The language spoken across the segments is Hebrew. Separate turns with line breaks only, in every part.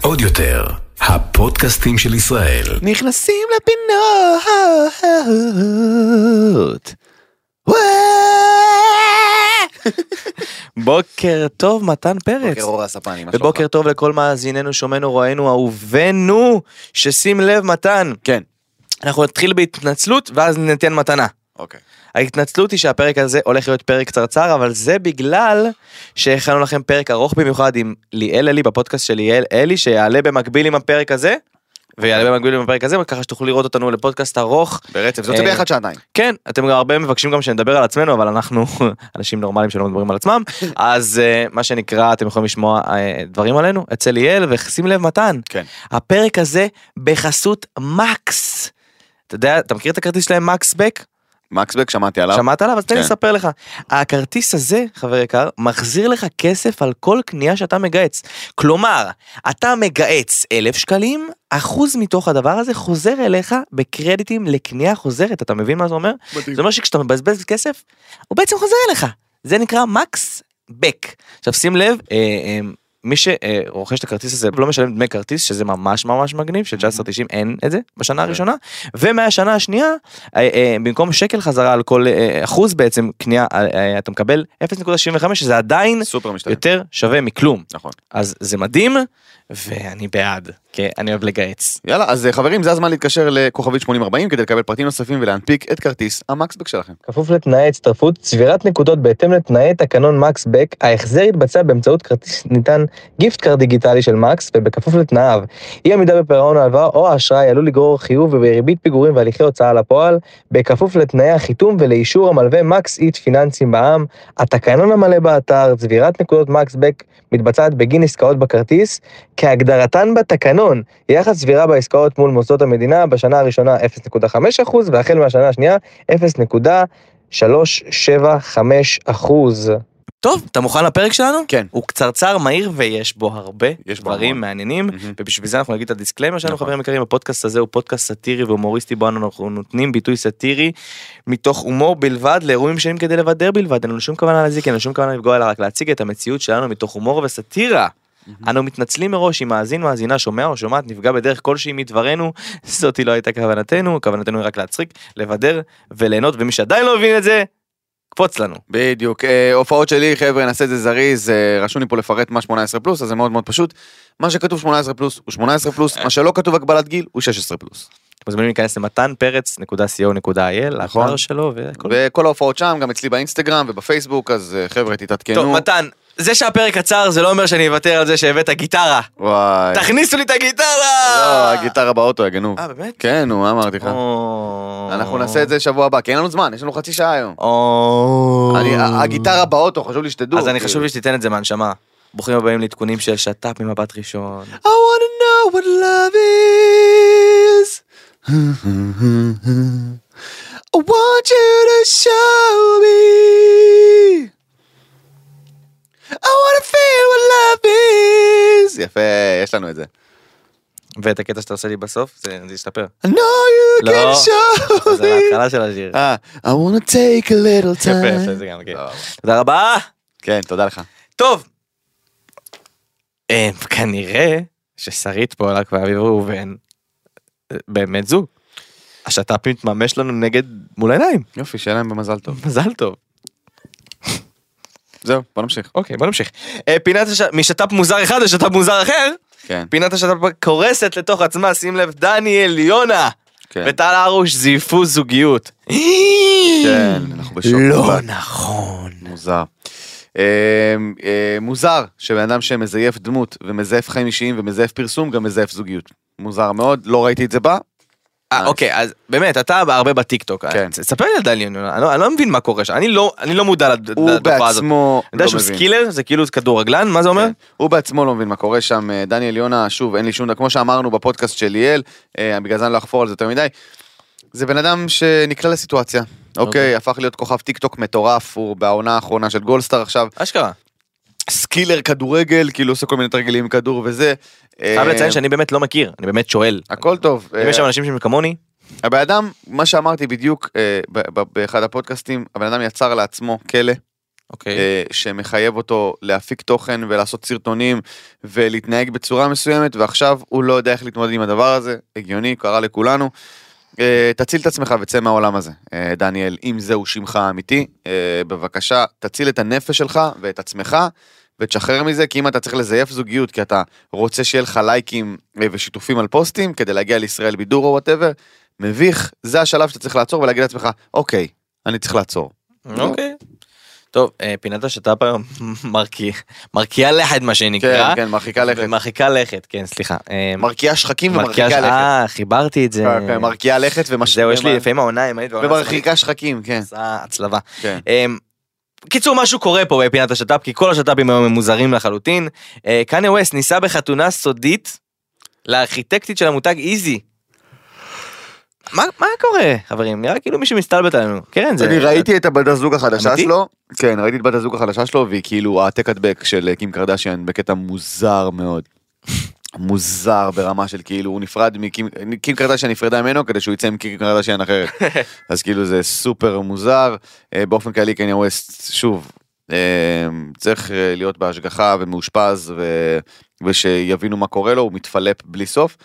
עוד יותר, הפודקאסטים של ישראל.
נכנסים לפינות. וואו! בוקר טוב, מתן פרץ.
בוקר אור הספני, מה שלומך?
ובוקר טוב לכל מאזיננו, שומענו, רואינו, אהובינו, ששים לב, מתן.
כן.
אנחנו נתחיל בהתנצלות ואז ניתן מתנה.
אוקיי.
ההתנצלות היא שהפרק הזה הולך להיות פרק קצרצר, אבל זה בגלל שהכנו לכם פרק ארוך במיוחד עם ליאל אלי בפודקאסט של ליאל אלי, שיעלה במקביל עם הפרק הזה, ויעלה במקביל עם הפרק הזה, ככה שתוכלו לראות אותנו לפודקאסט ארוך.
ברצף, זאת
אה,
ביחד שעתיים.
כן, אתם גם הרבה מבקשים גם שנדבר על עצמנו, אבל אנחנו אנשים נורמליים שלא מדברים על עצמם, אז אה, מה שנקרא, אתם יכולים לשמוע אה, דברים עלינו אצל ליאל, ושים לב מתן,
כן.
הפרק הזה בחסות מקס. אתה יודע, אתה מכיר את הכרטיס שלהם מקסבק?
מקסבק, שמעתי עליו.
שמעת עליו? אז תן לי
כן.
לספר לך. הכרטיס הזה, חבר יקר, מחזיר לך כסף על כל קנייה שאתה מגהץ. כלומר, אתה מגהץ אלף שקלים, אחוז מתוך הדבר הזה חוזר אליך בקרדיטים לקנייה חוזרת. אתה מבין מה זה אומר? זה אומר שכשאתה מבזבז כסף, הוא בעצם חוזר אליך. זה נקרא מקס בק. עכשיו שים לב, אה, אה, מי שרוכש את הכרטיס הזה לא משלם דמי כרטיס, שזה ממש ממש מגניב, של 1990 אין את זה בשנה הראשונה, ומהשנה השנייה, אה, אה, במקום שקל חזרה על כל אה, אחוז בעצם קנייה, אה, אה, אתה מקבל 0.65, שזה עדיין
סופר משתלם.
יותר שווה מכלום.
נכון.
אז זה מדהים, ואני בעד, כי אני אוהב לגייץ.
יאללה, אז אה, חברים, זה הזמן להתקשר לכוכבית 8040 כדי לקבל פרטים נוספים ולהנפיק את כרטיס המקסבק שלכם.
כפוף לתנאי הצטרפות, צבירת נקודות בהתאם לתנאי תקנון מקס בק, ההחזר יתבצע באמצעות כרטיס נטען גיפט קארד דיגיטלי של מקס ובכפוף לתנאיו. אי עמידה בפירעון ההלוואה או האשראי עלול לגרור חיוב ובריבית פיגורים והליכי הוצאה לפועל, בכפוף לתנאי החיתום ולאישור המלווה מקס איט פיננסים בע"מ. התקנון המלא באתר, צבירת נקודות מקס בק מתבצעת בגין עסקאות בכרטיס, כהגדרתן בתקנון, יחס צבירה בעסקאות מול מוסדות המדינה, בשנה הראשונה 0.5% והחל מהשנה השנייה 0.375 אחוז.
טוב, אתה מוכן לפרק שלנו?
כן.
הוא קצרצר, מהיר, ויש בו הרבה
יש בו
דברים
המון.
מעניינים,
מהמם.
ובשביל זה אנחנו נגיד את הדיסקליימר שלנו,
נכון.
חברים יקרים, הפודקאסט הזה הוא פודקאסט סאטירי והומוריסטי, בו אנחנו נותנים ביטוי סאטירי מתוך הומור בלבד, לאירועים שונים כדי לבדר בלבד, אין לנו שום כוונה להזיק, אין לנו שום כוונה לפגוע, אלא רק להציג את המציאות שלנו מתוך הומור וסאטירה. אנו מתנצלים מראש אם מאזין, מאזינה, שומע או שומעת, נפגע בדרך כלשהי מדברנו, זאתי לא הייתה כוונתנו, כוונתנו היא רק להצחיק, לבדר וליהנות, ומי שעדיין לא מבין את זה, קפוץ לנו.
בדיוק. אה, הופעות שלי, חבר'ה, נעשה את זה זריז. אה, רשום לי פה לפרט מה 18 פלוס, אז זה מאוד מאוד פשוט. מה שכתוב 18 פלוס הוא 18 פלוס, מה שלא כתוב הגבלת גיל הוא 16 פלוס.
אתם מוזמנים להיכנס למתן פרץ.co.il,
נכון.
לאתר שלו והכל.
וכל ההופעות שם, גם אצלי באינסטגרם ובפייסבוק, אז אה, חבר'ה,
טוב,
תתעדכנו.
מתן, זה שהפרק קצר זה לא אומר שאני אוותר על זה שהבאת גיטרה.
וואי.
תכניסו לי את
אה. לא,
הגיטרה!
הגיטרה באוטו, יא גנוב.
אה, באמת?
כן, נו, מה אמרתי לך?
או.
אנחנו נעשה את זה שבוע הבא, כי אין לנו זמן, יש לנו חצי שעה היום.
או.
אני- ה- הגיטרה באוטו, חשוב לי שתדעו.
אז אני
כאילו.
חשוב לי שתיתן את זה מהנשמה. ברוכים הבאים לעדכונים של שת"פ ממבט ראשון.
I wanna know what love is. I want you to show me. I wanna feel what love is. יפה, יש לנו את זה.
ואת הקטע שאתה עושה לי בסוף, זה זה ישתפר.
I know you
לא.
can show
זה
me.
ההתחלה של השיר.
אה, I wanna take a little
יפה, יפה,
time.
זה גם, כן.
לא.
תודה רבה.
כן, תודה לך.
טוב. אה, כנראה ששרית פולק ואביב ראובן אה, באמת זוג. השת"פ מתממש לנו נגד מול העיניים.
יופי, שיהיה להם במזל טוב.
מזל טוב.
זהו, בוא נמשיך.
אוקיי, בוא נמשיך. אה, פינת הש... משת"פ מוזר אחד לשת"פ מוזר אחר,
כן,
פינת השת"פ קורסת לתוך עצמה, שים לב, דניאל יונה
כן.
וטל הרוש זייפו זוגיות.
כן, אנחנו בשוק.
לא
מוחלט.
נכון.
מוזר. אה, אה, מוזר שבן אדם שמזייף דמות ומזייף חיים אישיים ומזייף פרסום גם מזייף זוגיות. מוזר מאוד, לא ראיתי את זה בא.
אה, אוקיי, אז באמת, אתה הרבה בטיקטוק.
כן.
ת- ספר לי על דניאל יונה, אני לא- אני לא מבין מה קורה שם, אני לא- אני לא מודע לד-
הוא
לדבר הזאת.
בעצמו
אני יודע
לא
שהוא
מבין.
סקילר, זה כאילו כדורגלן, מה זה אומר?
כן. הוא בעצמו לא מבין מה קורה שם, אה, דניאל יונה, שוב, אין לי שום, כמו שאמרנו בפודקאסט של ליאל, אה, בגלל זה אני לא אחפור על זה יותר מדי. זה בן אדם שנקלע לסיטואציה, אוקיי,
אוקיי.
הפך להיות כוכב טיק טוק מטורף, הוא בעונה האחרונה של גולדסטאר עכשיו,
אשכרה.
סקילר כדורגל, כאילו עושה כל מיני תרגילים עם כדור וזה.
חייב
אה,
לציין שאני באמת לא מכיר, אני באמת שואל.
הכל טוב.
אם
אה,
יש שם אנשים שהם כמוני,
הבן אדם, מה שאמרתי בדיוק אה, ב- ב- באחד הפודקאסטים, הבן אדם יצר לעצמו כלא
אוקיי.
אה, שמחייב אותו להפיק תוכן ולעשות סרטונים ולהתנהג בצורה מסוימת ועכשיו הוא לא יודע איך להתמודד עם הדבר הזה הגיוני קרה לכולנו. אה, תציל את עצמך וצא מהעולם הזה אה, דניאל אם זהו שמך האמיתי אה, בבקשה תציל את הנפש שלך ואת עצמך. ותשחרר מזה כי אם אתה צריך לזייף זוגיות כי אתה רוצה שיהיה לך לייקים אה, ושיתופים על פוסטים כדי להגיע לישראל בידור או וואטאבר מביך זה השלב שאתה צריך לעצור ולהגיד לעצמך אוקיי אני צריך לעצור.
אוקיי. טוב, אה, פינת השת"פ היום מרקיע- מרקיעה לכת מה שנקרא.
כן כן מרחיקה לכת.
מרחיקה לכת, כן, סליחה. אה,
מרקיעה שחקים
מרקיעה-
ומרחיקה לכת.
אה, חיברתי את זה.
כן, כן, מרקיעה לכת ומש-
זהו, יש לי
ומ-
לפעמים העונה, אם היית בעונה השמאלית,
ומרחיקה שחקים, כן.
עושה הצלבה.
כן.
אמ, קיצור משהו קורה פה בפינת השת"פ כי כל השת"פים היום הם מוזרים לחלוטין. אה, קניה ווסט ניסה בחתונה סודית לארכיטקטית של המותג איזי. מה מה קורה חברים נראה כאילו מישהו מסתלבט עלינו קרן זה
אני ראיתי את הבת הזוג החדשה
אמיתי?
שלו, כן ראיתי את בת הזוג החדשה שלו והיא כאילו העתק הדבק של קים קרדשיאן בקטע מוזר מאוד. מוזר ברמה של כאילו הוא נפרד מקים קים קרדשיאן נפרדה ממנו כדי שהוא יצא עם קים קרדשיאן אחרת אז כאילו זה סופר מוזר אה, באופן כללי קניה ווסט שוב אה, צריך אה, להיות בהשגחה ומאושפז ו... ושיבינו מה קורה לו הוא מתפלפ בלי סוף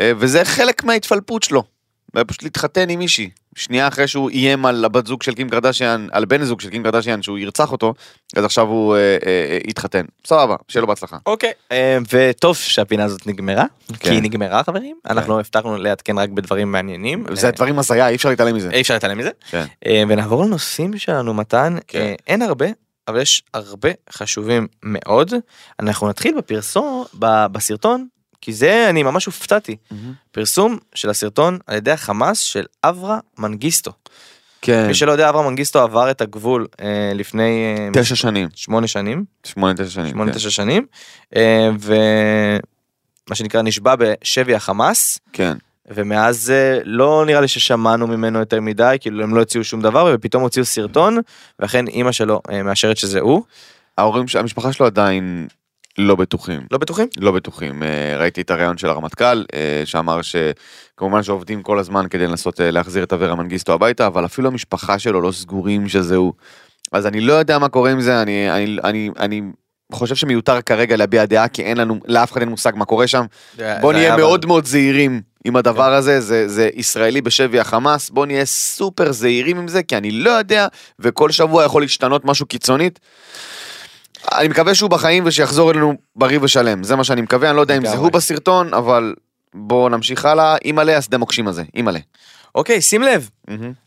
אה, וזה חלק מההתפלפות שלו. אה, פשוט להתחתן עם מישהי שנייה אחרי שהוא איים על הבת זוג של קים קרדשיאן על בן זוג של קים קרדשיאן שהוא ירצח אותו אז עכשיו הוא אה, אה, אה, יתחתן סבבה שיהיה לו בהצלחה.
אוקיי אה, וטוב שהפינה הזאת נגמרה כי
כן.
היא נגמרה חברים אנחנו הבטחנו לעדכן רק בדברים מעניינים
זה
אה,
הדברים הזיה אי אפשר להתעלם מזה.
אי אפשר להתעלם מזה
כן.
אה, ונעבור לנושאים שלנו מתן
כן.
אה, אין הרבה אבל יש הרבה חשובים מאוד אנחנו נתחיל בפרסום ב- בסרטון כי זה אני ממש הופתעתי פרסום של הסרטון על ידי החמאס של אברה מנגיסטו
כן.
מי שלא יודע אברה מנגיסטו עבר את הגבול אה, לפני אה,
תשע שנים.
שמונה שנים
שמונה תשע שנים.
שמונה
כן.
תשע שנים אה, ומה שנקרא נשבע בשבי החמאס.
כן.
ומאז אה, לא נראה לי ששמענו ממנו יותר מדי כאילו הם לא הוציאו שום דבר ופתאום הוציאו סרטון ואכן אימא שלו אה, מאשרת שזה הוא
ההורים, ש- המשפחה שלו עדיין לא בטוחים.
לא בטוחים
לא בטוחים. אה, ראיתי את הריאיון של הרמטכ"ל אה, שאמר שכמובן שעובדים כל הזמן כדי לנסות אה, להחזיר את אברה מנגיסטו הביתה, אבל אפילו המשפחה שלו לא סגורים שזה הוא. אז אני לא יודע מה קורה עם זה, אני, אני, אני, אני חושב שמיותר כרגע להביע דעה כי אין לנו, לאף אחד אין מושג מה קורה שם. בוא
זה
נהיה
היה כן.
מאוד מאוד זהירים עם הדבר הזה, זה, זה ישראלי בשבי החמאס, בוא נהיה סופר זהירים עם זה, כי אני לא יודע, וכל שבוע יכול להשתנות משהו קיצונית. אני מקווה שהוא בחיים ושיחזור אלינו בריא ושלם, זה מה שאני מקווה, אני לא יודע אם זה
לגמרי.
הוא בסרטון, אבל בואו נמשיך הלאה, אימא'לה, השדה מוקשים הזה, אימא'לה.
אוקיי שים לב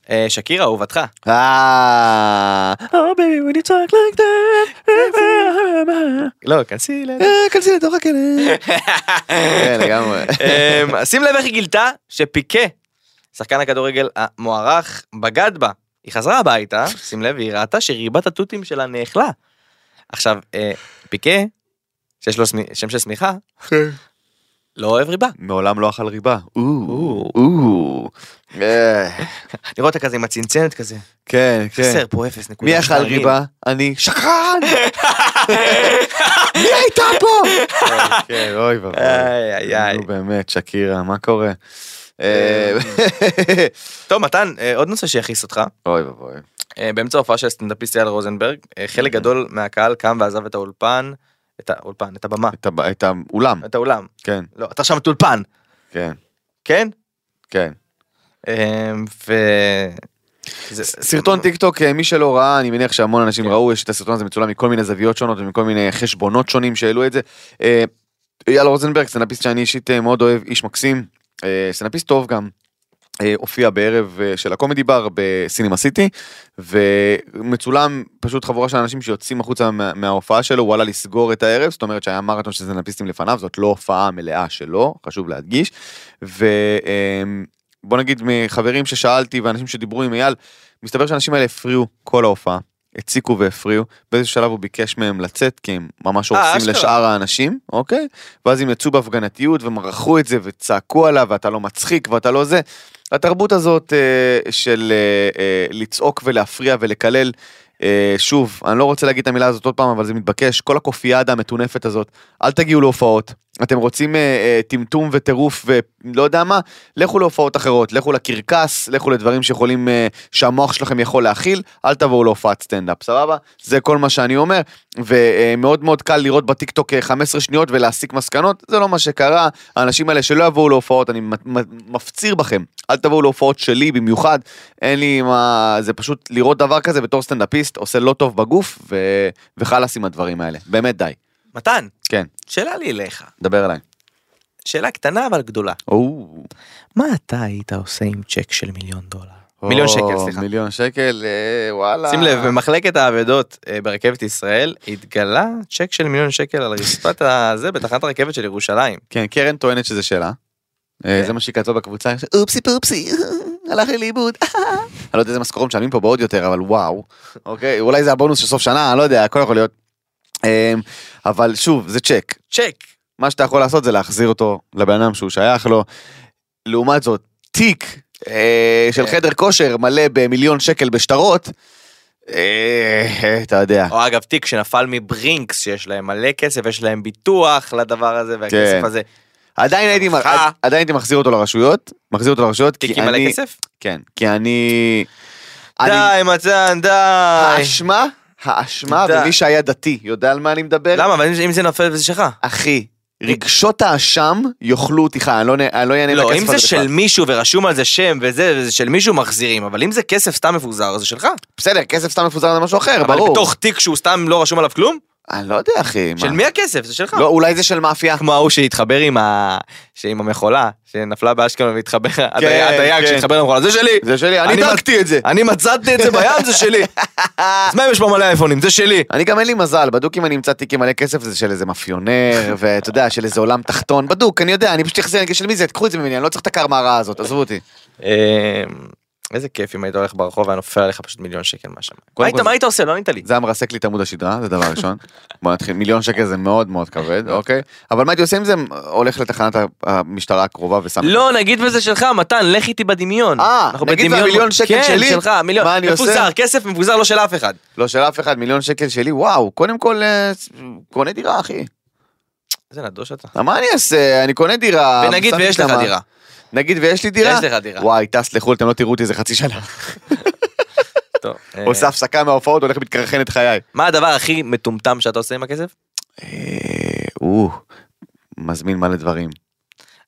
אה, שקירה אהובתך
אה,
לא כנסי ל...
כנסי לתוך הכלא. כן, לגמרי.
אמ, שים לב איך היא גילתה שפיקה שחקן הכדורגל המוערך בגד בה היא חזרה הביתה שים לב היא ראתה שריבת התותים שלה נאכלה עכשיו אה, פיקה שיש לו שמי- שם של שמיכה לא אוהב ריבה.
מעולם לא אכל ריבה,
או.
או, או. אה,
אני רואה אותה כזה עם הצנצנת כזה.
כן, כן.
חסר פה אפס נקודה.
מי אכל
שתיים.
ריבה? אני שקרן! מי הייתה פה? כן, אוי ואבוי.
איי, איי, איי.
נו, באמת, שקירה, מה קורה? אה,
טוב מתן אה, עוד נושא שיכעיס אותך
אוי ואבוי.
אה, באמצע ההופעה של הסטנדאפיסט יאל רוזנברג אה, חלק גדול מהקהל קם ועזב את האולפן את האולפן את הבמה
את הב- את האולם,
את האולם
כן,
לא אתה שם את אולפן
כן,
כן
כן.
אה, ו... זה-
סרטון טיק טוק, אה, מי שלא ראה, אני מניח שהמון אנשים ראו, יש את הסרטון הזה מצולם מכל מיני זוויות שונות ומכל מיני חשבונות שונים שהעלו את זה. אה, אייל רוזנברג, סטנאפיסט שאני אישית אה, מאוד אוהב, איש מקסים, אה, סטנאפיסט טוב גם. אה, הופיע בערב אה, של הקומדי בר בסינמה סיטי ומצולם פשוט חבורה של אנשים שיוצאים החוצה מה, מההופעה שלו הוא עלה לסגור את הערב זאת אומרת שהיה מרתון של סטנאפיסטים לפניו זאת לא הופעה מלאה שלו חשוב להדגיש אה, ובוא נגיד מחברים ששאלתי ואנשים שדיברו עם אייל מסתבר שהאנשים האלה הפריעו כל ההופעה הציקו והפריעו באיזשהו שלב הוא ביקש מהם לצאת כי הם ממש
אה,
הורסים
אשכרה.
לשאר האנשים אוקיי ואז הם יצאו בהפגנתיות ומרחו את זה וצעקו עליו ואתה לא מצחיק ואתה לא זה. התרבות הזאת אה, של אה, אה, לצעוק ולהפריע ולקלל, אה, שוב, אני לא רוצה להגיד את המילה הזאת עוד פעם, אבל זה מתבקש, כל הקופיאדה המטונפת הזאת, אל תגיעו להופעות, אתם רוצים אה, אה, טמטום וטירוף ולא יודע מה, לכו להופעות אחרות, לכו לקרקס, לכו לדברים שיכולים, אה, שהמוח שלכם יכול להכיל, אל תבואו להופעת סטנדאפ, סבבה? זה כל מה שאני אומר, ומאוד מאוד קל לראות בטיקטוק אה, 15 שניות ולהסיק מסקנות, זה לא מה שקרה, האנשים האלה שלא יבואו להופעות, אני מ- מ- מפציר בכם, אל תבואו להופעות שלי במיוחד, אין לי מה, זה פשוט לראות דבר כזה בתור סטנדאפיסט, עושה לא טוב בגוף, ו... וחלאס עם הדברים האלה, באמת די,
מתן,
כן,
שאלה לי אליך.
דבר אליי.
שאלה קטנה אבל גדולה.
או.
מה אתה היית עושה עם צ'ק של מיליון דולר? מיליון
או,
שקל, סליחה.
מיליון שקל, אה, וואלה.
שים לב, במחלקת האבדות אה, ברכבת ישראל התגלה צ'ק של מיליון שקל על רצפת הזה בתחנת הרכבת של ירושלים.
כן, קרן טוענת שזה שלה. אה,
כן.
זה מה שהיא כתבה בקבוצה, היא עושה, אופסי פופסי, הלך לי לאיבוד. אני לא יודע איזה משכורות משלמים פה בעוד יותר, אבל וואו. אוקיי, אולי זה הבונוס של סוף שנה, אני לא יודע, הכל יכול להיות. אה, אבל שוב, זה צ'ק.
צ'ק.
מה שאתה יכול לעשות זה להחזיר אותו לבן אדם שהוא שייך לו. לעומת זאת, תיק אה, של
כן.
חדר כושר מלא במיליון שקל בשטרות, אה, אתה יודע.
או אגב תיק שנפל מברינקס שיש להם מלא כסף יש להם ביטוח לדבר הזה והכסף
כן.
הזה.
עדיין הייתי, מח-
שמחה.
עדיין הייתי מחזיר אותו לרשויות, מחזיר אותו לרשויות, כי
תיקים מלא
אני,
כסף?
כן, כי אני... אני-
די מתן די.
האשמה, האשמה,
די.
ומי שהיה דתי יודע על מה אני מדבר?
למה אבל אם- אם זה נופל וזה שלך.
אחי, רגשות האשם יאכלו אותי חי, אני לא נ- אני לא אענה
לא
לכסף
אם
הזה
זה של
בכלל.
מישהו ורשום על זה שם וזה וזה של מישהו מחזירים אבל אם זה כסף סתם מפוזר זה שלך.
בסדר, כסף סתם מפוזר זה משהו אחר,
אבל
ברור.
בתוך תיק שהוא סתם לא רשום עליו כלום?
אני לא יודע, אחי. מה?
של מי הכסף? זה שלך.
לא, אולי זה של מאפיה.
כמו ההוא שהתחבר עם ה... שעם המכולה שנפלה באשקלון והתחבר, הדייג-
כן.
הדייג שהתחבר למכולה, זה שלי!
זה שלי, אני
אני לא-
דרקתי את זה.
אני מצאתי את זה בים, זה שלי! אז מה אם יש פה מלא אייפונים? זה שלי!
אני גם אין לי מזל, בדוק אם אני אמצא תיק עם מלא כסף זה של איזה מאפיונר, ואתה יודע, של איזה עולם תחתון, בדוק, אני יודע, אני פשוט אחזיר, אני אגיד של מי זה, תקחו את זה ממני, אני לא צריך את הקרמה הרעה הזאת, עזבו אותי.
אה, איזה כיף אם היית הולך ברחוב והיה נופל עליך פשוט מיליון שקל מהשמיים.
קודם
מה היית-
כל-
מה היית עושה? לא ענית לי.
זה היה מרסק לי את עמוד השדרה, זה דבר ראשון. בוא נתחיל, מיליון שקל זה מאוד מאוד כבד, אוקיי? אבל מה הייתי עושה עם זה? הולך לתחנת ה- המשטרה הקרובה ושם...
לא, נגיד וזה שלך, מתן, לך איתי בדמיון.
אה,
אנחנו
נגיד
בדמיון-
והמיליון שקל שלי?
כן, שלך, מיליון.
מה אני עושה?
מפוזר, כסף מפוזר לא של אף אחד.
לא של אף אחד, מיליון שקל שלי, וואו, קודם כל, אה, קונה דירה, אחי. אה,
איזה נדוש אתה.
מה אני אעשה? אני קונה דירה.
ונגיד
שם
ויש לך
שמה.
דירה.
נגיד ויש לי דירה?
יש לך דירה.
וואי, טס לחו"ל, אתם לא תראו אותי איזה חצי שנה.
טוב, אה,
עושה הפסקה מההופעות, הולך מתקרחן את חיי.
מה הדבר הכי מטומטם שאתה עושה עם הכסף?
אה, או, מזמין מלא דברים.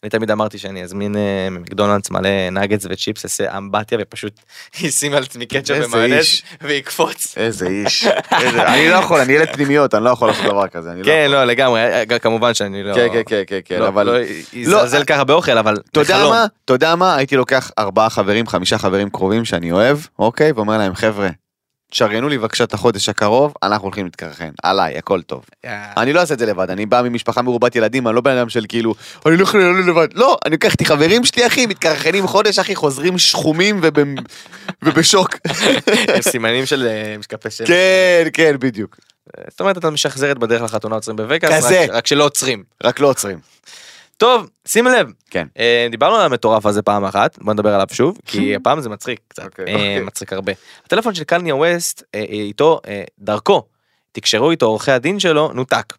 אני תמיד אמרתי שאני אזמין אה, ממקדונלדס מלא נגדס וצ'יפס, אעשה אמבטיה ופשוט אשים על עצמי קטשופ
איזה
ומענס
איש.
ויקפוץ.
איזה איש. איזה- אני לא יכול, אני ילד פנימיות, אני לא יכול לעשות דבר כזה. אני לא
כן, לא, לגמרי, אה, כמובן שאני לא...
כן, כן, כן, כן, כן,
לא,
אבל...
לא יזלזל ככה באוכל, אבל
אתה יודע
בחלום.
מה? אתה יודע מה? הייתי לוקח ארבעה חברים, חמישה חברים קרובים שאני אוהב, אוקיי? ואומר להם, חבר'ה, תשריינו לי בבקשה את החודש הקרוב, אנחנו הולכים להתקרחן. עליי, הכל טוב.
אה,
אני לא אעשה את זה לבד, אני בא ממשפחה מרובת ילדים, אני לא בן אדם של כאילו, אני לא יכול לעלות לבד. לא, אני לוקח את החברים שלי, אחי, מתקרחנים חודש, אחי, חוזרים שחומים וב- ובשוק.
עם סימנים של אה, משקפי שמש.
כן, כן, בדיוק.
זאת אומרת, אתה משחזרת בדרך לחתונה עוצרים בווגאס,
כזה.
רק- רק שלא עוצרים.
רק לא עוצרים.
טוב, שים לב.
כן.
אה, דיברנו על המטורף הזה פעם אחת, בוא נדבר עליו שוב, כי הפעם זה מצחיק קצת,
אוקיי.
אה, מצחיק הרבה. הטלפון של קניה ווסט, אה, אה, איתו, אה, דרכו, תקשרו איתו עורכי הדין שלו, נותק.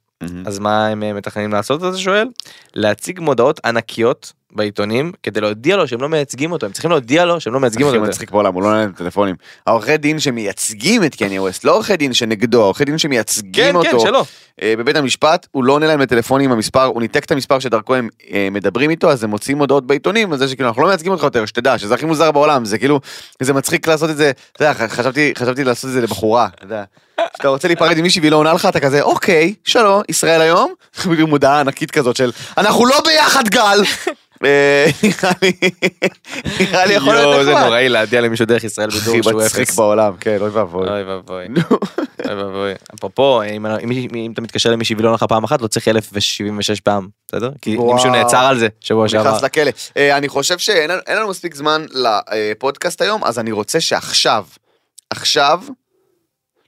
אז מה הם אה, מתכננים לעשות, אתה שואל? להציג מודעות ענקיות בעיתונים, כדי להודיע לו שהם לא מייצגים אותו, הם צריכים להודיע לו שהם לא מייצגים אותו.
הכי
יותר.
מצחיק בעולם, הוא לא עונה לטלפונים. העורכי דין שמייצגים את קניה ווסט, לא עורכי דין שנגדו, העורכי דין
כן,
שמייצגים
כן,
אותו
שלא.
אה, בבית המשפט, הוא לא עונה להם לטלפונים עם המספר, הוא ניתק את המספר שדרכו הם אה, מדברים איתו, אז הם מוציאים הודעות בעיתונים, על זה שכאילו אנחנו לא מייצגים אותך יותר, שתדע, שזה הכי מוזר בעולם, זה כאילו, זה מצחיק לעשות את זה, אתה יודע, ח- חשבתי, חשבתי לעשות את זה לבחורה, אתה יודע. כשאתה רוצה להיפרד עם מישהי והיא לא עונה לך, אתה כזה, אוקיי, שלום, ישראל היום, בדיוק מודעה ענקית כזאת של, אנחנו לא ביחד גל! אה, נראה לי, נראה לי יכול להיות
יואו, זה
נחמד.
נוראי להודיע למישהו דרך ישראל
הכי
בדור שהוא
מצחיק
אפס.
בעולם, כן, אוי ואבוי.
אוי ואבוי. אוי ואבוי. אפרופו, אם, אם, אם אתה מתקשר למישהי ולא לך פעם אחת, לא צריך 1076 פעם, בסדר? כי
וואו.
מישהו נעצר על זה שבוע
הוא
שעבר.
נכנס לכלא. אה, אני חושב שאין לנו- אין לנו מספיק זמן לפודקאסט היום, אז אני רוצה שעכשיו, עכשיו,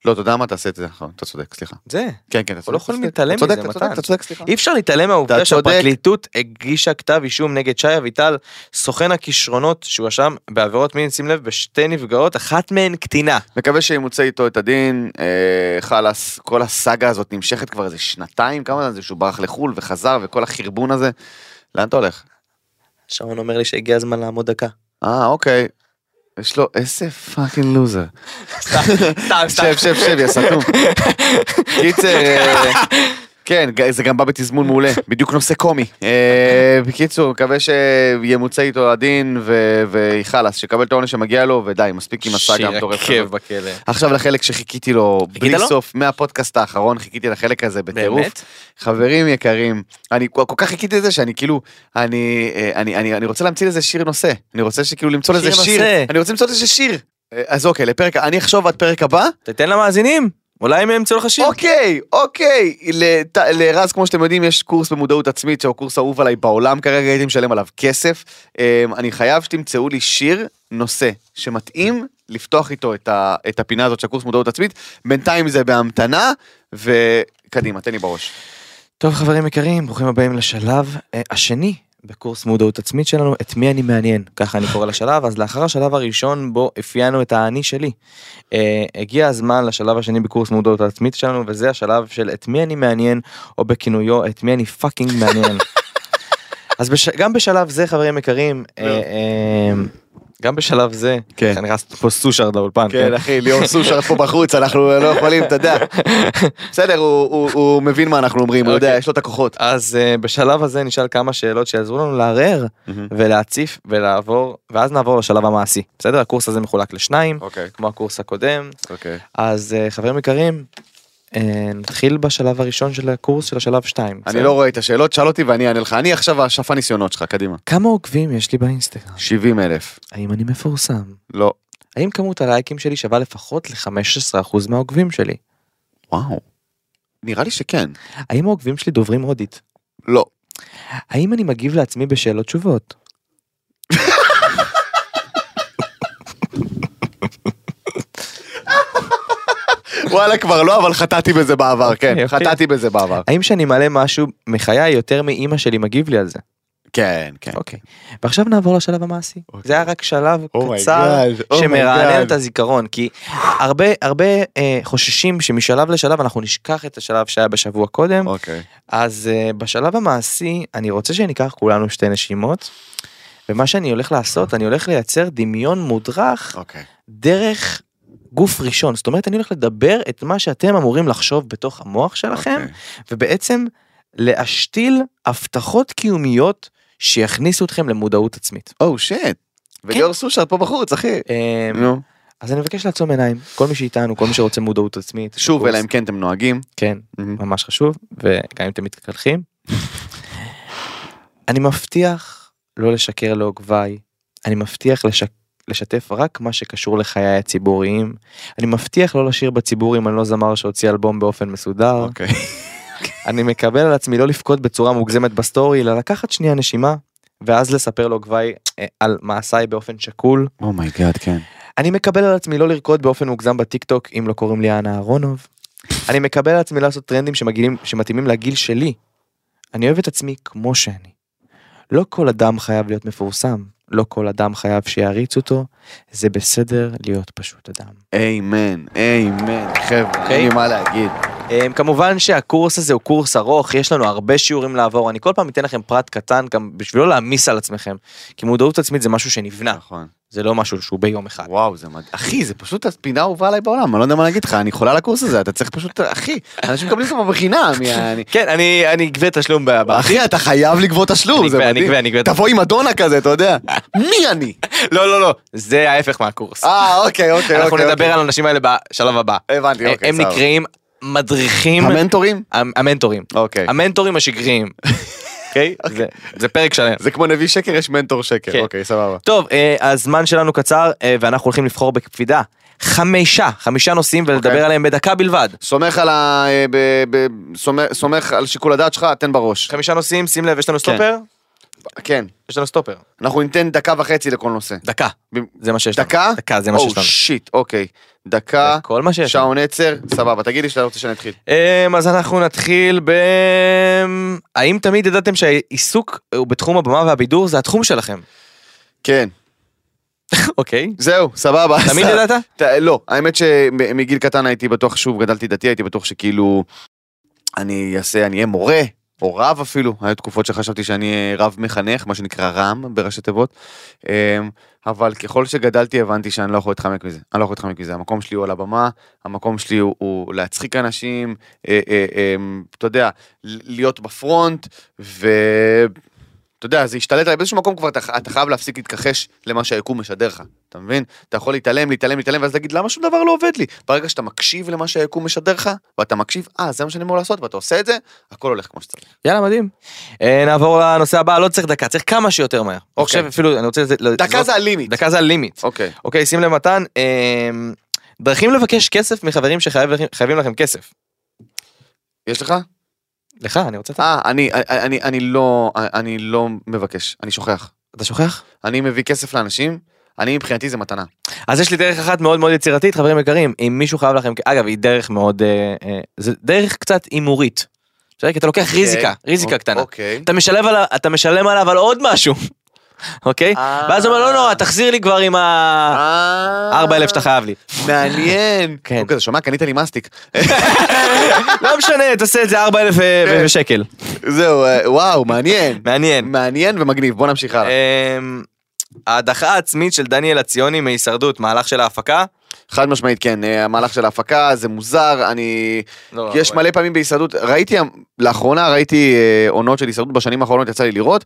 לא, אתה יודע מה? תעשה את זה נכון, אתה צודק, סליחה.
זה.
כן, כן, אתה צודק.
לא יכולים
אתה
להתעלם
צודק,
מזה,
אתה צודק,
מתן.
אתה צודק, סליחה.
אי אפשר להתעלם מהעובדה
אתה צודק.
שהפרקליטות הגישה כתב אישום נגד שי אביטל, סוכן הכישרונות שהואשם בעבירות מין, שים לב, בשתי נפגעות, אחת מהן קטינה.
מקווה שימוצא איתו את הדין, אה, חלאס, כל הסאגה הזאת נמשכת כבר איזה שנתיים, כמה זמן זה שהוא ברח לחו"ל וחזר וכל החרבון הזה. לאן אתה הולך?
שרון אומר לי שהגיע הזמן לעמוד דקה.
אה, אוקיי. יש לו איזה פאקינג לוזר.
סתם, סתם,
שב, שב, שב, יא סתום. קיצר, אה, כן, ג- זה גם בא בתזמון מעולה, בדיוק נושא קומי. אה, בקיצור, מקווה שימוצא איתו הדין ו- וחלאס, שיקבל את העונש שמגיע לו, ודי, מספיק עם הסאגה המטורפת. הזאת.
שירקב בכלא.
עכשיו לחלק שחיכיתי לו בלי
לו?
סוף, מהפודקאסט האחרון חיכיתי לחלק הזה בטירוף.
באמת?
חברים יקרים, אני כל כל כך חיכיתי לזה שאני כאילו, אני, אה, אני, אני, אני רוצה להמציא לזה שיר נושא. אני רוצה שכאילו למצוא
שיר
לזה שיר.
נושא.
אני רוצה למצוא לזה שיר. אה, אז אוקיי, לפרק, אני אחשוב עד פרק הבא.
תתן למאזינים, אולי הם ימצאו לך שיר.
אוקיי, אוקיי. לת- לרז, כמו שאתם יודעים, יש קורס במודעות עצמית, שהוא הקורס האהוב עליי בעולם כרגע, הייתי משלם עליו כסף. אה, אני חייב שתמצאו לי שיר נושא שמתאים לפתוח איתו את ה- את הפינה הזאת של קורס מודעות עצמית. בינתיים זה בהמתנה, וקדימה, תן לי בראש.
טוב חברים יקרים, ברוכים הבאים לשלב אה, השני בקורס מודעות עצמית שלנו, את מי אני מעניין, ככה אני קורא לשלב, אז לאחר השלב הראשון בו אפיינו את האני שלי. אה, הגיע הזמן לשלב השני בקורס מודעות עצמית שלנו, וזה השלב של את מי אני מעניין, או בכינויו את מי אני פאקינג מעניין. אז בש... גם בשלב זה חברים יקרים, אה,
לא.
אה, גם בשלב זה,
כן.
אני נכנס פה סושרד לאולפן,
כן, אחי, ליאור סושרד פה בחוץ, אנחנו לא יכולים, אתה יודע. בסדר, הוא- הוא הוא מבין מה אנחנו אומרים, הוא יודע,
אוקיי.
יש לו את הכוחות.
אז אה, בשלב הזה נשאל כמה שאלות שיעזרו לנו לערער ולהציף ולעבור ואז נעבור לשלב המעשי בסדר הקורס הזה מחולק לשניים
אוקיי,
כמו הקורס הקודם
אוקיי.
אז אה, חברים יקרים אה, נתחיל בשלב הראשון של הקורס של השלב 2.
אני לא רואה את השאלות, שאל אותי ואני אענה לך. אני עכשיו השפה ניסיונות שלך, קדימה.
כמה עוקבים יש לי באינסטגרם?
70 אלף.
האם אני מפורסם?
לא.
האם כמות הלייקים שלי שווה לפחות ל-15% מהעוקבים שלי?
וואו. נראה לי שכן.
האם העוקבים שלי דוברים הודית?
לא.
האם אני מגיב לעצמי בשאלות תשובות?
וואלה, כבר לא, אבל חטאתי בזה בעבר, כן.
אוקיי, אוקיי.
חטאתי בזה בעבר.
האם שאני מעלה משהו מחיי יותר מאימא שלי מגיב לי על זה?
כן, כן.
אוקיי. ועכשיו נעבור לשלב המעשי.
אוקיי.
זה היה רק שלב
Oh my
קצר
God, oh my
שמרענן
God.
את הזיכרון, כי הרבה הרבה אה, חוששים שמשלב לשלב אנחנו נשכח את השלב שהיה בשבוע קודם.
אוקיי.
אז אה, בשלב המעשי אני רוצה שניקח כולנו שתי נשימות. ומה שאני הולך לעשות, אני הולך לייצר דמיון מודרך
אוקיי.
דרך גוף ראשון. זאת אומרת, אני הולך לדבר את מה שאתם אמורים לחשוב בתוך המוח שלכם,
אוקיי.
ובעצם להשתיל הבטחות קיומיות שיכניסו אתכם למודעות עצמית.
או שיט. Oh
כן.
וליאור סושרד פה בחוץ, אחי.
אמ,
נו.
אז אני מבקש לעצום עיניים, כל מי שאיתנו, כל מי שרוצה מודעות עצמית.
שוב,
בקורס.
אלא אם כן אתם נוהגים. Mm-hmm.
כן, ממש חשוב, וגם אם אתם מתקלחים. אני מבטיח לא לשקר לעוגביי, אני מבטיח לש... לשתף רק מה שקשור לחיי הציבוריים, אני מבטיח לא לשיר בציבור אם אני לא זמר שהוציא אלבום באופן מסודר,
אוקיי.
אני מקבל על עצמי לא לבכות בצורה מוגזמת בסטורי, אלא לקחת שנייה נשימה, ואז לספר לעוגביי אה, על מעשיי באופן שקול.
אומייגאד, כן.
אני מקבל על עצמי לא לרקוד באופן מוגזם בטיקטוק אם לא קוראים לי אנה אהרונוב. אני מקבל על עצמי לעשות טרנדים שמגילים, שמתאימים לגיל שלי. אני אוהב את עצמי כמו שאני. לא כל אדם חייב להיות מפורסם, לא כל אדם חייב שיעריץ אותו, זה בסדר להיות פשוט אדם.
איימן, איימן, חבר'ה,
אוקיי.
אין לי מה להגיד.
אמ, כמובן שהקורס הזה הוא קורס ארוך, יש לנו הרבה שיעורים לעבור, אני כל פעם אתן לכם פרט קטן גם בשביל לא להעמיס על עצמכם, כי מודעות עצמית זה משהו שנבנה,
נכון.
זה לא משהו שהוא ביום אחד.
וואו, זה מדהים. אחי, זה פשוט הפינה האהובה עליי בעולם, אני לא יודע מה להגיד לך, אני חולה על הקורס הזה, אתה צריך פשוט, אחי, אנשים מקבלים אותך בחינם, יעני.
כן, אני אני אגבה תשלום ב- ב-
אחי, אתה חייב לגבות תשלום,
אני
זה
אגבה, אני
מדהים.
אגבה, אני אגבה.
תבוא עם אדונה כזה, אתה יודע. מי אני?
לא לא לא זה ההפך מהקורס
אה, אוקיי, אוקיי.
אנחנו
אוקיי,
נדבר
אוקיי.
על האנשים האלה בשלב הבא אה,
הבנתי, אוקיי,
הם
סבבה.
נקראים מדריכים
המנטורים?
המ- המנטורים
אוקיי.
המנטורים השגריים. אוקיי? זה- זה פרק שלם.
זה כמו נביא שקר, יש
כן.
מנטור שקר, אוקיי, סבבה.
טוב אה, הזמן שלנו קצר אה, ואנחנו הולכים לבחור בקפידה חמישה חמישה נושאים ולדבר
אוקיי.
עליהם בדקה בלבד.
סומך על ה... אה, ב- ב- סומך- סומך על שיקול הדעת שלך, תן בראש.
חמישה נושאים שים לב יש לנו
כן.
סטופר.
כן,
יש לנו סטופר.
אנחנו ניתן דקה וחצי לכל נושא.
דקה.
במ-
זה מה שיש לנו.
דקה?
דקה, זה מה
או
שיש לנו.
שיט, אוקיי.
זה
דקה,
כל מה שיש לנו.
שעון עצר, סבבה. תגיד לי שאתה רוצה שאני אתחיל.
אמ, אז אנחנו נתחיל ב... האם תמיד ידעתם שהעיסוק הוא בתחום הבמה והבידור זה התחום שלכם?
כן,
אוקיי. אה,
זהו, סבבה.
תמיד
אז-
ידעת?
ת- לא, האמת שמגיל קטן הייתי בטוח, שוב, גדלתי דתי, הייתי בטוח שכאילו, אני אעשה, אני אהיה מורה, או רב אפילו, היו תקופות שחשבתי שאני אהיה רב מחנך, מה שנקרא רם בראשי תיבות, אמ, אבל ככל שגדלתי הבנתי שאני לא יכול להתחמק מזה, אני לא יכול להתחמק מזה, המקום שלי הוא על הבמה, המקום שלי הוא, הוא להצחיק אנשים, אה, אה, אה, אתה יודע, ל- להיות בפרונט, ו... אתה יודע, זה השתלט עליי, באיזשהו מקום כבר אתה, אתה חייב להפסיק להתכחש למה שהיקום משדר לך, אתה מבין? אתה יכול להתעלם, להתעלם, להתעלם, ואז להגיד למה שום דבר לא עובד לי. ברגע שאתה מקשיב למה שהיקום משדר לך, ואתה מקשיב, אה, זה מה שאני אמור לעשות, ואתה עושה את זה, הכל הולך כמו שצריך.
יאללה מדהים. אה, נעבור לנושא הבא, לא צריך דקה, צריך כמה שיותר מהר. אני חושב אפילו, אני רוצה... לזה-
דקה
לזרוק-
זה הלימיט.
אוקיי. דקה זה הלימיט.
אוקיי.
אוקיי, שים לב מתן, אמ, דרכים לבקש כסף מחברים שחייבים לכם כסף.
יש לך?
לך, אני רוצה... את ה-
אה, אני, אני, אני, אני לא, אני לא מבקש, אני שוכח.
אתה שוכח?
אני מביא כסף לאנשים, אני מבחינתי זה מתנה.
אז יש לי דרך אחת מאוד מאוד יצירתית, חברים יקרים, אם מישהו חייב לכם, אגב, היא דרך מאוד, אה, אה, זה דרך קצת הימורית. בסדר? כי אתה לוקח ריזיקה, ריזיקה
אוק-
קטנה.
אוקיי.
אתה משלם עליו, אתה משלם עליו על עוד משהו, אוקיי?
אה.
ואז הוא אומר, לא נורא, תחזיר לי כבר עם ה...
אה.
4,000 שאתה חייב לי.
מעניין.
כן.
הוא כזה, אוקיי, שומע, קנית לי מסטיק.
לא משנה, תעשה את זה אה, 4,000
כן.
שקל.
זהו, אה, וואו, מעניין.
מעניין.
מעניין ומגניב, בוא נמשיך הלאה.
אמ, ההדחה העצמית של דניאל הציוני מהישרדות, מהלך של ההפקה?
חד משמעית כן, אה, המהלך של ההפקה זה מוזר, אני...
לא,
יש
אבל-
מלא פעמים בהישרדות, ראיתי, לאחרונה ראיתי אה, עונות של הישרדות, בשנים האחרונות יצא לי לראות.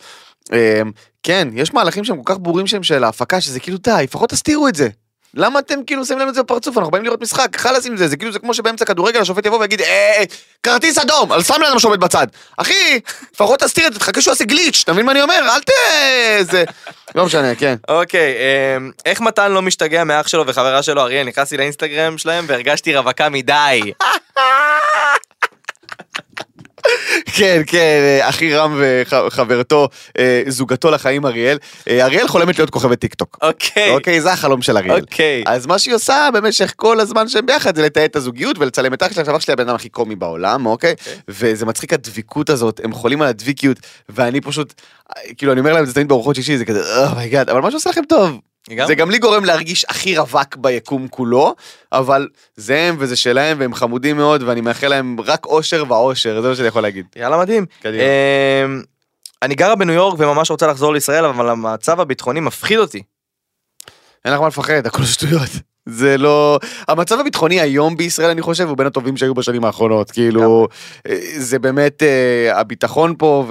אה, כן, יש מהלכים שהם כל כך ברורים שהם של ההפקה, שזה כאילו די, לפחות תסתירו את זה. למה אתם כאילו שמים לנו את זה בפרצוף, אנחנו באים לראות משחק, חלאס עם זה, זה כאילו זה כמו שבאמצע כדורגל השופט יבוא ויגיד, "אה, אה, כרטיס אדום, על שם לאדם שעומד בצד. אחי, לפחות תסתיר את זה, תחכה שהוא יעשה גליץ', אתה מבין מה אני אומר? אל ת... זה... לא משנה, כן.
אוקיי, אמ, איך מתן לא משתגע מאח שלו וחברה שלו אריאל? נכנסתי לאינסטגרם שלהם והרגשתי רווקה מדי.
כן, כן, אה, אחי רם וחברתו, אה, זוגתו לחיים אריאל. אה, אריאל חולמת להיות כוכבת טיק טוק.
אוקיי,
אוקיי, זה החלום של אריאל.
אוקיי.
אז מה שהיא עושה במשך כל הזמן שהם ביחד זה לתעד את הזוגיות ולצלם את אח שלה, עכשיו אח שלי הבן אדם הכי קומי בעולם, אוקיי? וזה מצחיק הדביקות הזאת, הם חולים על הדביקיות, ואני פשוט, אה, כאילו אני אומר להם את זה תמיד בארוחות שישי, זה כזה, אומייגאד, אבל מה שעושה לכם טוב,
אה,
זה גם לי גורם להרגיש הכי רווק ביקום כולו, אבל זה הם וזה שלהם והם חמודים מאוד ואני מאחל להם רק אושר ואושר, זה מה שאני יכול להגיד.
יאללה מדהים.
קדימה.
אמ, אני גרה בניו יורק וממש רוצה לחזור לישראל, אבל המצב הביטחוני מפחיד אותי.
אין לך מה לפחד, הכל שטויות. זה לא... המצב הביטחוני היום בישראל, אני חושב, הוא בין הטובים שהיו בשנים האחרונות. כאילו, אה, זה באמת אה, הביטחון פה,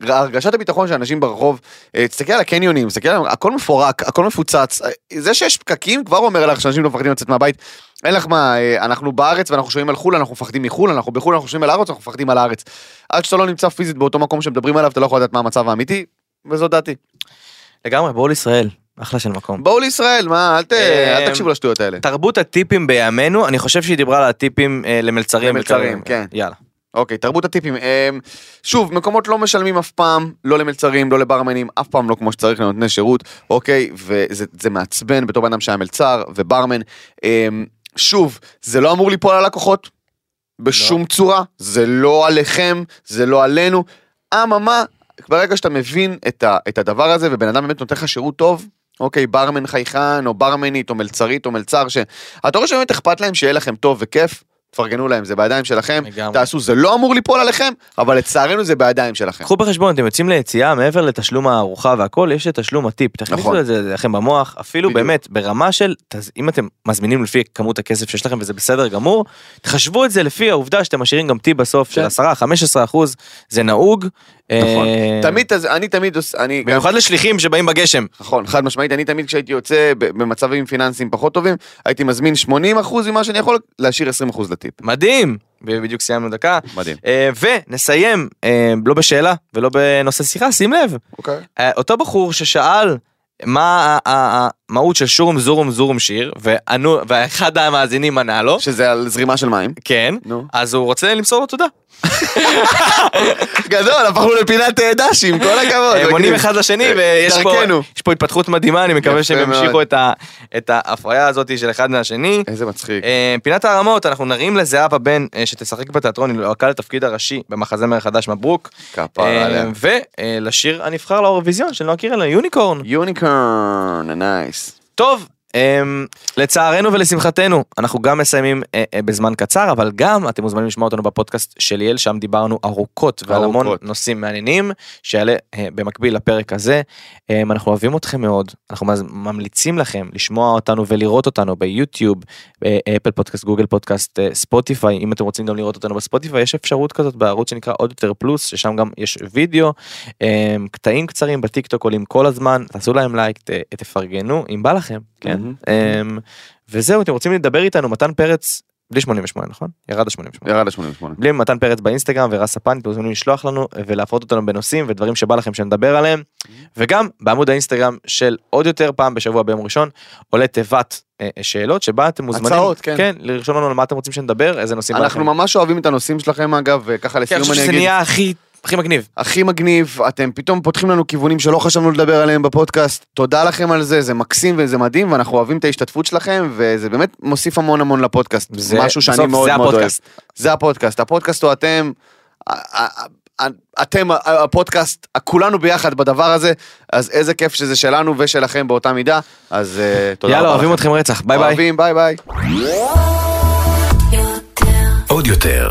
והרגשת הביטחון של אנשים ברחוב, אה, תסתכל על הקניונים, תסתכל על... הכל מפורק, הכל מפוצץ. אה, זה שיש פקקים כבר אומר לך שאנשים לא מפחדים לצאת מהבית. אין לך מה, אה, אנחנו בארץ ואנחנו שומעים על חו"ל, אנחנו מפחדים מחו"ל, אנחנו בחו"ל, אנחנו שומעים על הארץ, אנחנו מפחדים על הארץ. עד שאתה לא נמצא פיזית באותו מקום שמדברים עליו, אתה לא יכול לדעת מה המצב האמיתי, וזו דעתי.
לגמרי, בואו לישראל. אחלה של מקום.
בואו לישראל, מה, אל ת- אל
אמ,
תקשיבו לשטויות האלה.
תרבות הטיפים בימינו, אני חושב שהיא דיברה על הטיפים אה, למלצרים.
למלצרים,
וכאלה.
כן.
יאללה.
אוקיי, תרבות הטיפים. אמ, שוב, מקומות לא משלמים אף פעם, לא למלצרים, לא לברמנים, אף פעם לא כמו שצריך לנותני שירות, אוקיי? וזה זה מעצבן בתור בן אדם שהיה מלצר וברמן. אמ, שוב, זה לא אמור ליפול על הלקוחות, בשום לא. צורה, זה לא עליכם, זה לא עלינו. אממה, ברגע שאתה מבין את, ה, את הדבר הזה, ובן אדם באמת נותן לך שירות טוב, אוקיי, ברמן חייכן, או ברמנית, או מלצרית, או מלצר, שאתה רואה שבאמת אכפת להם שיהיה לכם טוב וכיף, תפרגנו להם, זה בידיים שלכם,
לגמרי.
תעשו, זה לא אמור ליפול עליכם, אבל לצערנו זה בידיים שלכם.
קחו בחשבון, אתם יוצאים ליציאה, מעבר לתשלום הארוחה והכל, יש את תשלום הטיפ.
נכון.
תכניסו את זה לכם במוח, אפילו
בדיוק.
באמת, ברמה של, תז- אם אתם מזמינים לפי כמות הכסף שיש לכם וזה בסדר גמור, תחשבו את זה לפי העובדה שאתם משאירים גם טיפ בסוף של
כן.
10-15 אחוז, זה נהוג.
נכון.
אה,
תמיד, תז- אני תמיד, עוש- אני... גם-
במיוחד לשליחים שבאים בגשם.
נכון, חד משמעית, אני תמיד כשהייתי יוצא ב- במצבים פיננסיים פחות טובים, הייתי מזמין 80% ממה שאני יכול, להשאיר 20% לטיפ.
מדהים! בדיוק סיימנו דקה.
מדהים.
אה, ונסיים, אה, לא בשאלה ולא בנושא שיחה, שים לב.
אוקיי.
אה, אותו בחור ששאל מה ה- ה- ה- המהות של שורום זורום זורום שיר, וענו, ואחד המאזינים ענה לו,
שזה על זרימה של מים.
כן,
נו. אה,
אז הוא רוצה למסור לו תודה.
גדול, הפכנו לפינת אה, דשי, עם כל הכבוד.
הם עונים
מגניב.
אחד לשני
אה,
ויש פה,
דרכנו.
יש פה התפתחות מדהימה, אני מקווה
יפה
שהם
מאוד.
ימשיכו את, ה, את ההפריה הזאת של אחד מהשני.
איזה מצחיק.
אה, פינת הרמות, אנחנו נרים לזהבה בן אה, שתשחק בתיאטרון, היא לוהקה לתפקיד הראשי במחזמר החדש מברוק. אה,
כפרה עליה.
ולשיר הנבחר לאירוויזיון של נועה קירל, יוניקורן.
יוניקורן, נייס.
טוב, אמ, לצערנו ולשמחתנו, אנחנו גם מסיימים אה, אה, בזמן קצר, אבל גם אתם מוזמנים לשמוע אותנו בפודקאסט של ליאל, שם דיברנו ארוכות ועל המון
ארוכות.
נושאים מעניינים, שיעלה אה, במקביל לפרק הזה. אמ, אנחנו אוהבים אתכם מאוד, אנחנו מז- ממליצים לכם לשמוע אותנו ולראות אותנו ביוטיוב, אה, אפל פודקאסט, גוגל פודקאסט, אה, ספוטיפיי, אם אתם רוצים גם לראות אותנו בספוטיפיי, יש אפשרות כזאת בערוץ שנקרא עוד יותר פלוס, ששם גם יש וידאו, אה, קטעים קצרים בטיקטוק עולים כל הזמן, תעשו להם לייק, ת- תפרגנו, אם בא לכם, כן?
מהמם.
אה, וזהו, אתם רוצים לדבר איתנו, מתן פרץ, בלי 88, נכון? ירד ה-88.
ירד ל-88.
בלי מתן פרץ באינסטגרם ורס ספן, אתם מוזמנים לשלוח לנו ולהפרות אותנו בנושאים ודברים שבא לכם שנדבר עליהם. וגם בעמוד האינסטגרם של עוד יותר פעם בשבוע ביום ראשון עולה תיבת אה, שאלות שבה אתם מוזמנים.
הצעות, כן.
כן, לרשום לנו על מה אתם רוצים שנדבר, איזה נושאים בא לכם.
אנחנו ממש אוהבים את הנושאים שלכם אגב, וככה
כן, אני
לסיום
חושב שזה
אני אגיד,
נהיה הכי, הכי מגניב.
הכי מגניב, אתם פתאום פותחים לנו כיוונים שלא חשבנו לדבר עליהם בפודקאסט, תודה לכם על זה, זה מקסים וזה מדהים, ואנחנו אוהבים את ההשתתפות שלכם, וזה באמת מוסיף המון המון לפודקאסט,
זה-
משהו שאני
בסוף
מאוד
זה
מאוד אוהב.
הפודקאסט.
זה הפודקאסט, הפודקאסט הוא אתם, א- א- א- אתם ה- הפודקאסט, כולנו ביחד בדבר הזה, אז איזה כיף שזה שלנו ושלכם באותה מידה, אז אה, תודה רבה.
יאללה, אוהבים
לכם.
אתכם רצח, ביי ביי.
אוהבים, ביי ביי.
עוד יותר,